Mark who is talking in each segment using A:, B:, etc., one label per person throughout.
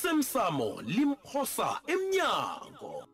A: osemsamo limphosa emnyango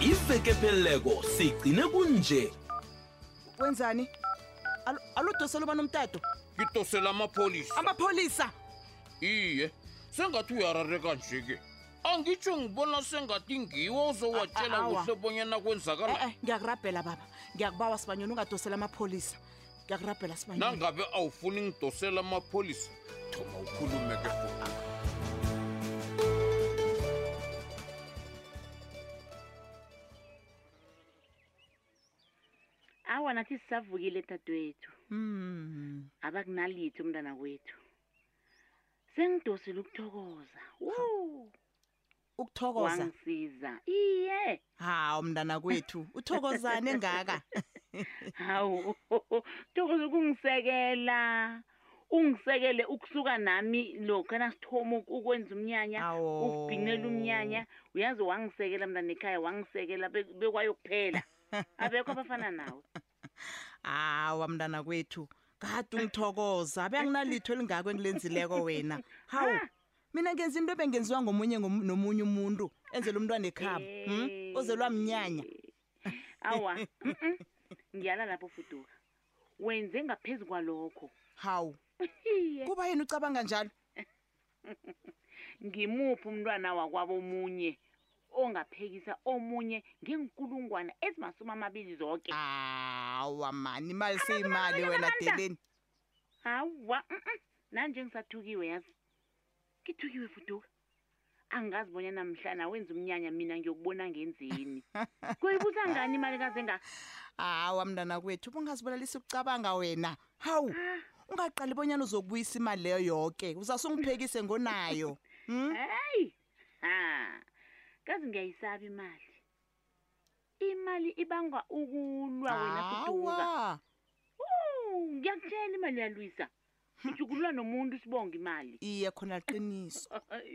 A: iveke pheleleko sigcine kunje
B: wenzani Alo- aludosela ubani umtato
C: ngidosela amapholisa
B: amapholisa
C: iye sengathi uyarareka nje-ke angitsho ngibona sengathi ngiwo
B: A-
C: uzowatshela
B: a- awa.
C: kuhle bonyana
D: Eh,
C: kwenzakala
B: e-e ngiyakurabhela baba ngiyakubawa sibanyoni ungadosela amapholisa ngiyakurabhela sibanyoni
C: nangabe awufuni ngidosela amapholisa thoma ukhulumeke
E: awa nathi sisavukile dadwethu
B: Mm.
E: abakunalithi umntana wethu sengidosile ukuthokoza Woo!
B: ukuthokoza
E: wangisiza iye
B: hawu mntana kwethu uthokozane engaka
E: hawu thokoza ukungisekela ungisekele ukusuka nami lokho nasithoma uk- ukwenza umnyanya
B: Awu.
E: ukubhinela umnyanya uyazi wangisekela mntana ekhaya wangisekela be- bekwayo kuphela abekho abafana nawe
B: hawa mntana kwethu kade ungithokoza abe anginalitho elingako engilenzileko wena hawu mina ngenza into ebengenziwa ngomunye ngom- nomunye umuntu enzela umntwana ekhabo hmm? ozelwa mnyanya
E: awa mm-mm. ngiyala lapho fuduka wenze ngaphezu kwalokho
B: hawu
E: iye
B: kuba yena ucabanga njalo
E: ngimuphi umntwana wakwabo omunye ongaphekisa omunye ngenkulungwane ezimasumi amabili zonke
B: hawa mani imali seyimali wena deleni
E: hawa mm-mm. nanje ngisathukiwe yazi ngithukiwe fuduka angazi bonyana mhlana wenza umnyanya mina ngiyokubona ngenzeni kuyibuza ngani imali kaze ngaka
B: hawa mntana kwethu bungazibulalisi ukucabanga wena hawu ungaqali bonyana uzokubuyisa imali leyo yoke uzasungiphelekise ngonayo hmm?
E: hayi ha kazi ngiyayisaba imali imali ibangwa ukulwa wena fuduka
B: hawa
E: Wu, ngiyakutshela imali yalwisa ujukulwa nomuntu sibonge imali
B: iye khona liqiniso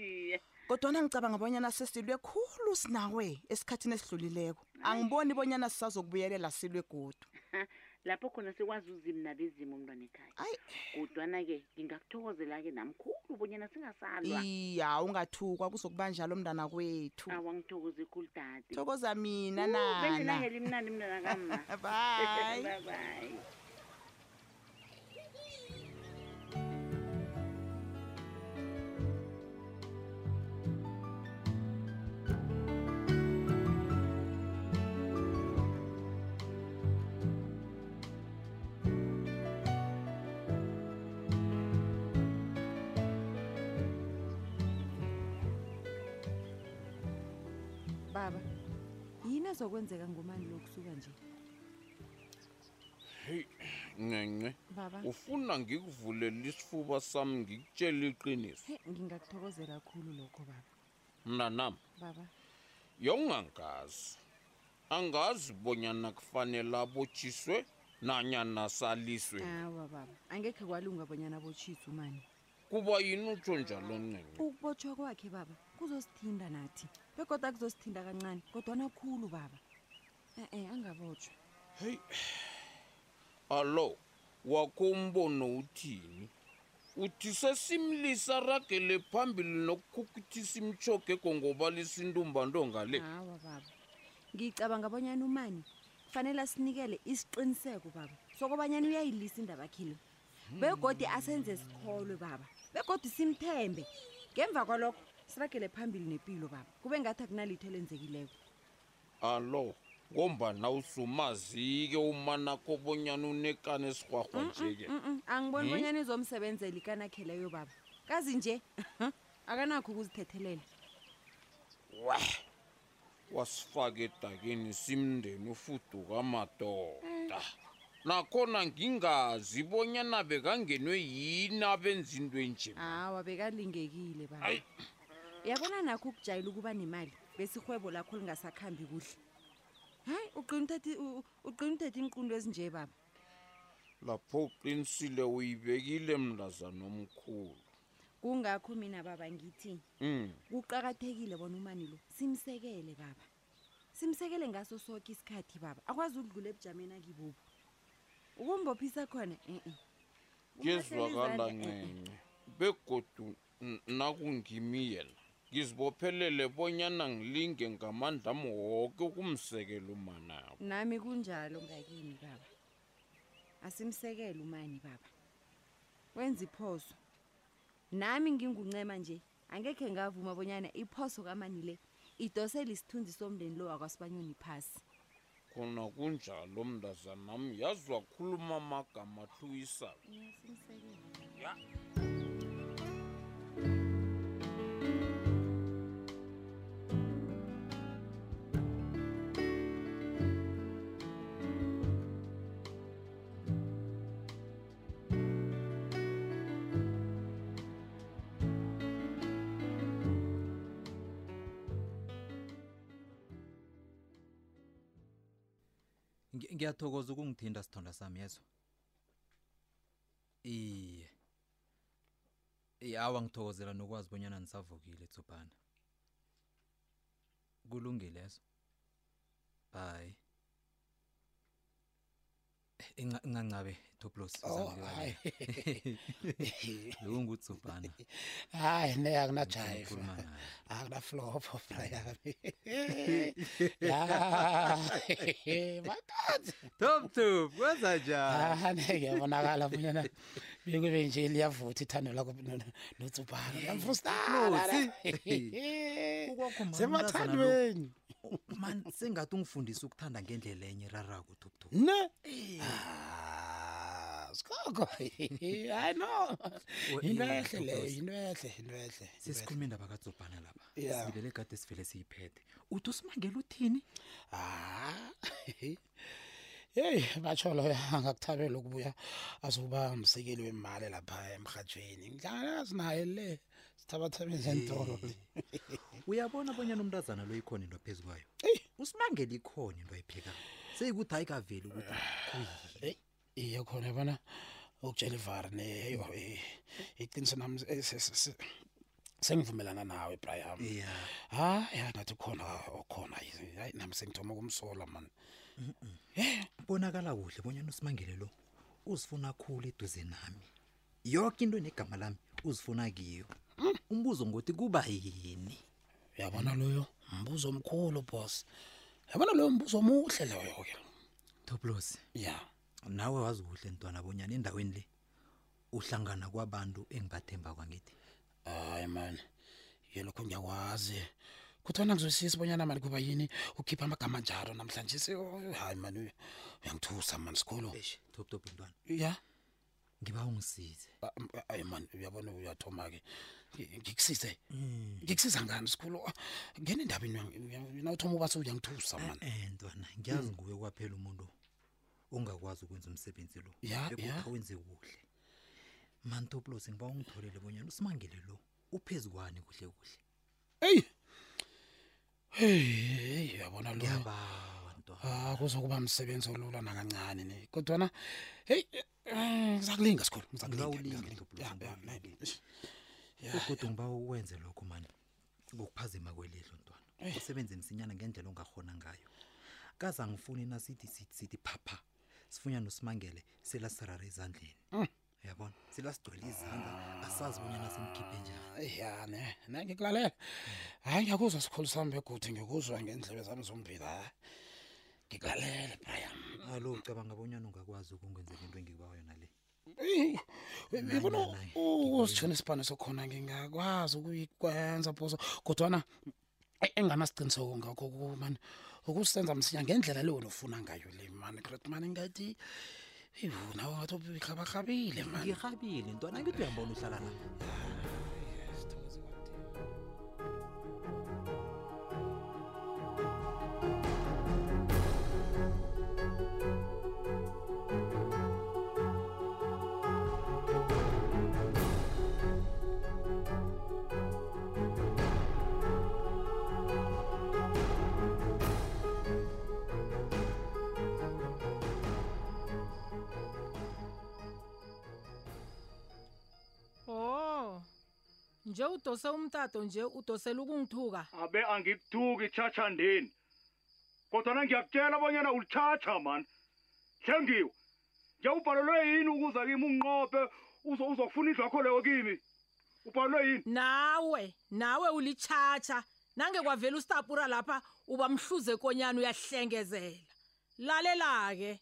E: Iye.
B: kodwana ngicabanga bonyana sesilwe khulu sinawe esikhathini esidlulileko angiboni bonyana sisazokubuyelela silwe godu
E: Ha, lapho khona sikwazi uzimu nabezimo umntwana ekhaya
B: ayi
E: kodwana-ke ngingakuthokozela-ke namkhulu bonyana singasalwa
B: iya ungathukwa kuzokuba njalo mntana kwethu
E: awangithokoze khulu dade
B: thokoza mina nana
E: bezinangela imnandi mntana kamma
B: bye
E: bye
F: baba yini ezokwenzeka ngumani lo kusuka nje
C: heyi ncence
F: baba
C: ufuna ngikuvulela isifuba sami ngikutshela iqiniso
F: he ngingakuthokozela kakhulu lokho baba
C: mna nami
F: baba
C: yongangazi angazi bonyana kufanele abotshiswe nanyana saliswe
F: awa baba angekhe kwalunga bonyana botshise umani
C: kuba yini utsho njalo ncence
F: ukubotshwa kwakhe baba kuzosithinda nathi begoda kuzosithinda kancane kodwana khulu baba e-e angabotshwa
C: heyi allo wakho umbono uthini uthi sesimlisa ragele phambili nokukhukuthisa imtshoga egongobalisa intumbantonga le
F: hawa baba ngicabanga bonyana umani kufanele asinikele isiqiniseko baba sokobanyana uyayilisa indaba khile begodi asenze sikholwe baba begodi simthembe ngemva kwalokho siragele phambili nempilo baba kube ngathi akunalitho elenzekileko
C: alo ngombana usumazi-ke umanakho bonyana unekane esirhwarhwa nje-ke
F: Mm-mm, angiboni bonyana izomsebenzela ikanakheleyo baba kazi nje akanakho ukuzithethelela
C: wa wasifaka edakeni simndeni ufuduka amadoda nakhona ngingazi bonyana bekangenwe yini abenza into enje
F: hawa bekalingekile baba
C: Ayi.
F: yabona nakho ukujayela ukuba nemali besihwebo lakho lingasakhambi kuhle hayi ugqina uthethe- u- u- ugqina uthethe iinqundo ezinje baba
C: lapho uqinisile uyibekile mndazana omkhulu
F: kungakho mina baba ngithi
C: um
F: kuqakathekile bona umani lo simsekele baba simsekele ngaso soke isikhathi baba akwazi ukudlula ebujameni akibubo ukumbophisa khona e-e
C: kezwakala ncenye begodu n- nakungimi yena ngizibophelele bonyana ngilinge ngamandla ami woke ukumsekela umanabo
F: nami kunjalo ngakini baba asimsekele umani baba wenza iphoso nami nginguncema nje angekhe ngavuma bonyana iphoso kamani le idosele isithunzi somndeni lo wakwasibanyoni phasi
C: khona kunjalo mntazanami yazi wakhuluma amagama ahluyisayo
G: Ngi- ngiyathokoza ukungithinda sithonda sami yezwa iye yawa ngithokozela nokwazi bonyana nisavukile tsubhana kulungile yezo bye ingancabe toplos
D: Oh, hayi.
G: lokungutsubhana
D: hayi ne
G: Ngikhuluma
D: akunajayiva
G: naye.
D: akunaflopho brian ya matanzi
G: top top kwenza njani
D: ane ngiyabonakala bunyana bekube nje liyavutha ithando lakho notsubhana
G: Notsi. Ukwakho mani,
D: yamfustanasemathandweni
G: man sengathi ungifundisa ukuthanda ngendlela enye rarako top top
D: ne
G: Eh.
D: Ah, sikoko hayi no
G: We-
D: yinto
G: yeah,
D: ehle
G: Thokoza.
D: leyo yinto ehle yinto ehle
G: sesikhulume indaba kadzobhana lapha
D: Yeah.
G: sibelele kade sivele siyiphethe uthi usimangela uthini
D: Ah. Hey, batsho loyo angakuthabela ukubuya azokuba msekeli wemali lapha emhathweni. Ngidlala sinaye le. Sithabathabeni entolo.
G: Eh. uyabona abanyana umntazana lo ikhona into aphezu kwayo
D: Eyi.
G: usimangela ikhona into ayiphekayo seyikuthi ayikaveli ukuthi kuyini
D: Iya khona yabona ukutshela ivar ne yo eh, iqiniso nami eh, se- se- se- sengivumelana nawe Brian.
G: ya
D: Hayi, hayi nathi khona okhona. Hayi nami sengithoma kumsola man.
G: bonakala kuhle bonyana usimangele lo uzifuna khulu eduze nami yoke into negama lami uzifuna kiyo umbuzo ngothi kuba yini
D: Uyabona loyo mbuzo omkhulu boss. Yabona loyo mbuzo omuhle loyo ke.
G: toplos
D: Yeah.
G: nawe wazi kuhle ntwana bonyana endaweni le uhlangana kwabantu engibathemba kwangithi
D: hayi mani ye lokho ngiyakwazi kuthona ngizwisisa bonyana mani kuba yini ukhipha amagama njalo namhlanje se oh, hayi mani uy- uyangithusa mani sikhulu
G: esh top top ntwana
D: ya
G: ngiba ungisize
D: Ah, m- ah, hayi mani uyabona uyathoma-ke Ngi- ngikusize ngikusiza ngani sikhulu Ah, ngena endabeni uyangi- uya- wena uthoma uba seuyangithusa mani Mm.
G: eh ntwana ngiyazi nguwe kwaphela umuntu ongakwazi ukwenza umsebenzi lo
D: Ya,
G: Begodu
D: ya.
G: awenze kuhle mantoplos ngiba ungitholele bonyana usimangele lo uphezu kwani kuhle kuhle
D: eyi heyi uyabona lo
G: ngiyabawa ntwana
D: ah kuzokuba msebenzi olula nakancane ne kodwana heyi ngizakulinga sikhulu ngizakulinga,
G: Ngawulinga,
D: ngizakulinga.
G: Dr.
D: Ya,
G: Blossom,
D: ya,
G: ngawulinga.
D: ne-
G: kodwa ngiba ukwenze lokho mani ngokuphazima kwelihlo ntwana
D: Eh.
G: usebenze msinyana ngendlela ongahona ngayo kaze angifuni nasithi sithi sithi phapha sifunya nosimangele selasirara ezandleni
D: Mm.
G: uyabona silasigcwele izandla asazi bonyana simkhiphe njani
D: ya ne ne ngikulalela hayi ngiyakuzwa sikhulu sami begude ngikuzwa ngendlebe zami zombili ha ngikulalele brian
G: alo ucabanga bonyana ungakwazi ukungenzela into engikuba yona le
D: Eyi, ngibona
G: nayi, nayi,
D: ukuzitshona isibhane sokhona ngingakwazi ukuyikwenza phoso kodwana eyi, enginganasiqiniseko ngakho kumani ukusenza msinya ngendlela le wena ufuna ngayo le mani cret mani ngathi ewu nawe ngathi ubiklabaklabile mani
G: ngirhabile ntwana ngithi uyambona uhlala lapha
H: Oh. Nje udose umtato nje udosela ukungithuka.
I: abe angikuduki itshatsha ndini kodwana ngiyakutshela abanyana ulitshatsha mani hlengiwe ngiyawubhalelwe yini ukuza kimi unqophe uzo- uzokufuna indlu yakho leyo kimi ubhalwe yini
H: nawe nawe ulitshatsha nange kwavela usitapura lapha uba mhluze konyana uyahlengezela lalela-ke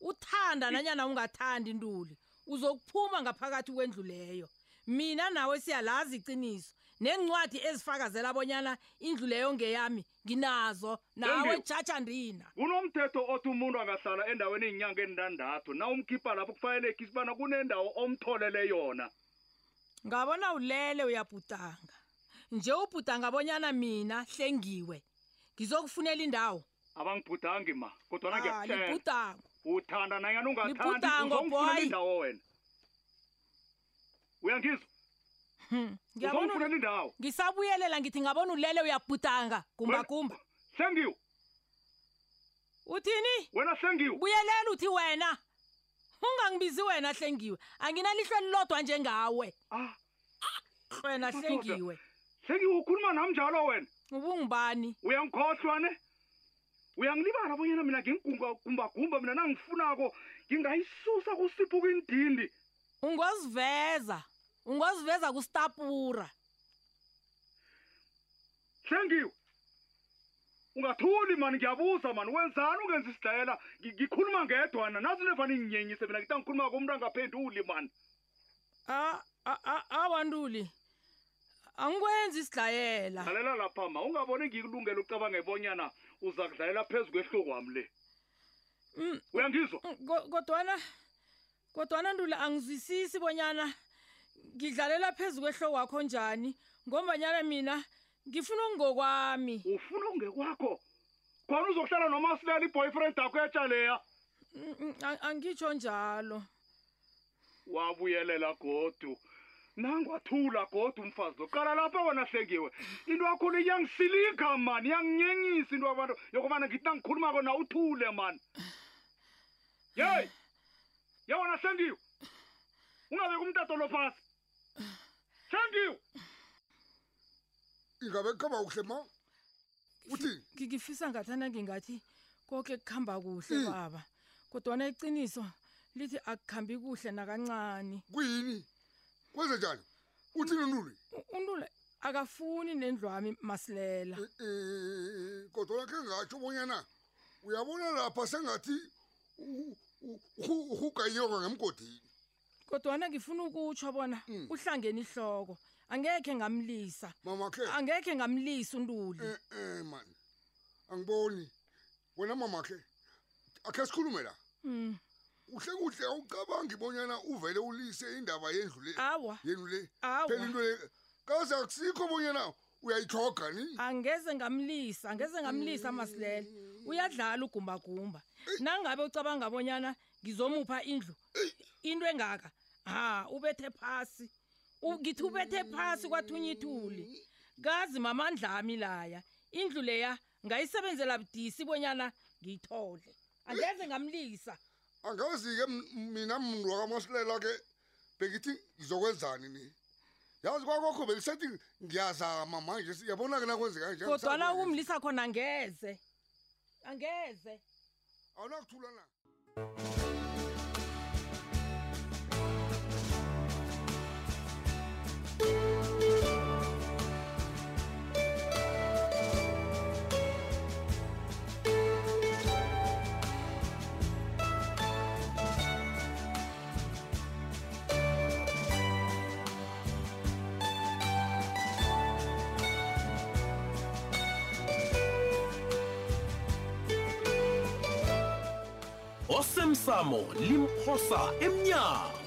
H: uthanda nanyana ungathandi ntuli uzokuphuma ngaphakathi kwendlu leyo mina nawe siyalazi iqiniso neencwadi ezifakazela abonyana indlu leyo ngeyami nginazo nawe
I: Ngeyo.
H: tshatsha ndina
I: kunomthetho othi umuntu angahlala endaweni ey'nyanga endandathu na umkhipha lapho kufanelekisi ubana kunendawo omtholele yona
H: ngabona ulele uyabhutanga nje ubhutanga abonyana mina hlengiwe ngizokufunela indawo
I: abangibhudangi ma kodwana
H: Ah,
I: ngiyakutshela
H: libhutango
I: uthanda nanyani ungathandi
H: Libhudango,
I: uzongifunela
H: boy.
I: indawo wena uyangizwa
H: Hmm, ngiyabona
I: uzongifunela indawo
H: ngisabuyelela ngithi ngabona ulele uyabhutanga gumbagumba
I: hlengiwe
H: uthini
I: wena hlengiwe
H: buyelela uthi wena ungangibizi wena hlengiwe anginalihlo elilodwa njengawe
I: ah
H: wena hlengiwe
I: hlengiwe ukhuluma nam njalo wena
H: ubungibani
I: uyangikhohlwa ne uyangilibala bonyana mina ngingumbagumba mina nangifunako ngingayisusa kusiphuka indindi
H: ungoziveza ungoziveza kustapura
I: hlengiwe ungathuli mani ngiyabuza mani wenzani ungenza isidlayela Ngi- ngikhuluma ngedwana nazi nefane nginyenyise mina ngita ngikhuluma komuntu angaphenduli mani
H: Ah, ah, ah, awantuli angikwenzi isidlayela
I: lalela lapha ma ungaboni ngikulungela ucabanga ebonyana uza kudlalela phezu kwehlo kwami le
H: Mm,
I: uyangizwa
H: mm, ko- kodwana kodwana ndula angizwisisi bonyana ngidlalela phezu kwehlo wakho njani ngombanyana mina ngifuna ungokwami
I: ufuna ongekwakho khona uzohlala noma silela i-boyfriend akho etsha leya
H: Mm, mm, a- angitsho njalo
I: wabuyelela godu nangwathula godu umfazi lo qala lapha wena hlengiwe into yakhona iyangisiliga mani iyanginyenyisa into yabantu yokubana ngithi nangikhulumako na uthule mani yeyi ye wona hlengiwe ungabeki umtato lo phasi hlengiwe
J: ingabe kukhamba kuhle ma uthini
H: Ngi- ngifisa ngathana ngingathi konke kuhamba kuhle
J: Mm.
H: baba kodwana iqiniso lithi akuhambi kuhle nakancane
J: kuyini kwenze njani uthini ntuli
H: U- untula akafuni nendlwami masilela
J: kodwana khe ngatsho bonyana uyabona lapha sengathi urhuganyelwa ngemgodini
H: kodwana ngifuna ukutsho bona
J: Mm.
H: uhlangene ihloko angekhe ngamlisa
J: mamakhe
H: angekhe ngamlisa untuli
J: e-e mani Eh, angiboni wena mamakhe akhe sikhulume la
H: Mm.
J: kuhle kuhle awucabangi bonyana uvele ulise indaba yendlu le
H: awa
J: yenu le Mm. phela into
H: awa
J: le kaze akusikho bonyana uyayithoga ni
H: angeze ngamlisa angeze ngamlisa masilela uyadlala ugumbagumba nangabe ucabanga abonyana ngizomupha indlu into engaka ha ubethe phasi U- ngithi ubethe phasi kwathunya ithuli kazi mamandlami laya indlu leya ngayisebenzela budisi bonyana ngiyithole angeze ngamlisa
J: angazi-ke m- mina mntu wakamasilela ke bengithi ngizokwenzani ni yazi kwakokho bengisethi ngiyazama manje siyabona ke nakwenzeka nje
H: kodwana ukumlisa khona angeze angeze
J: awunakuthula na
A: osemsamo limphosa emnyango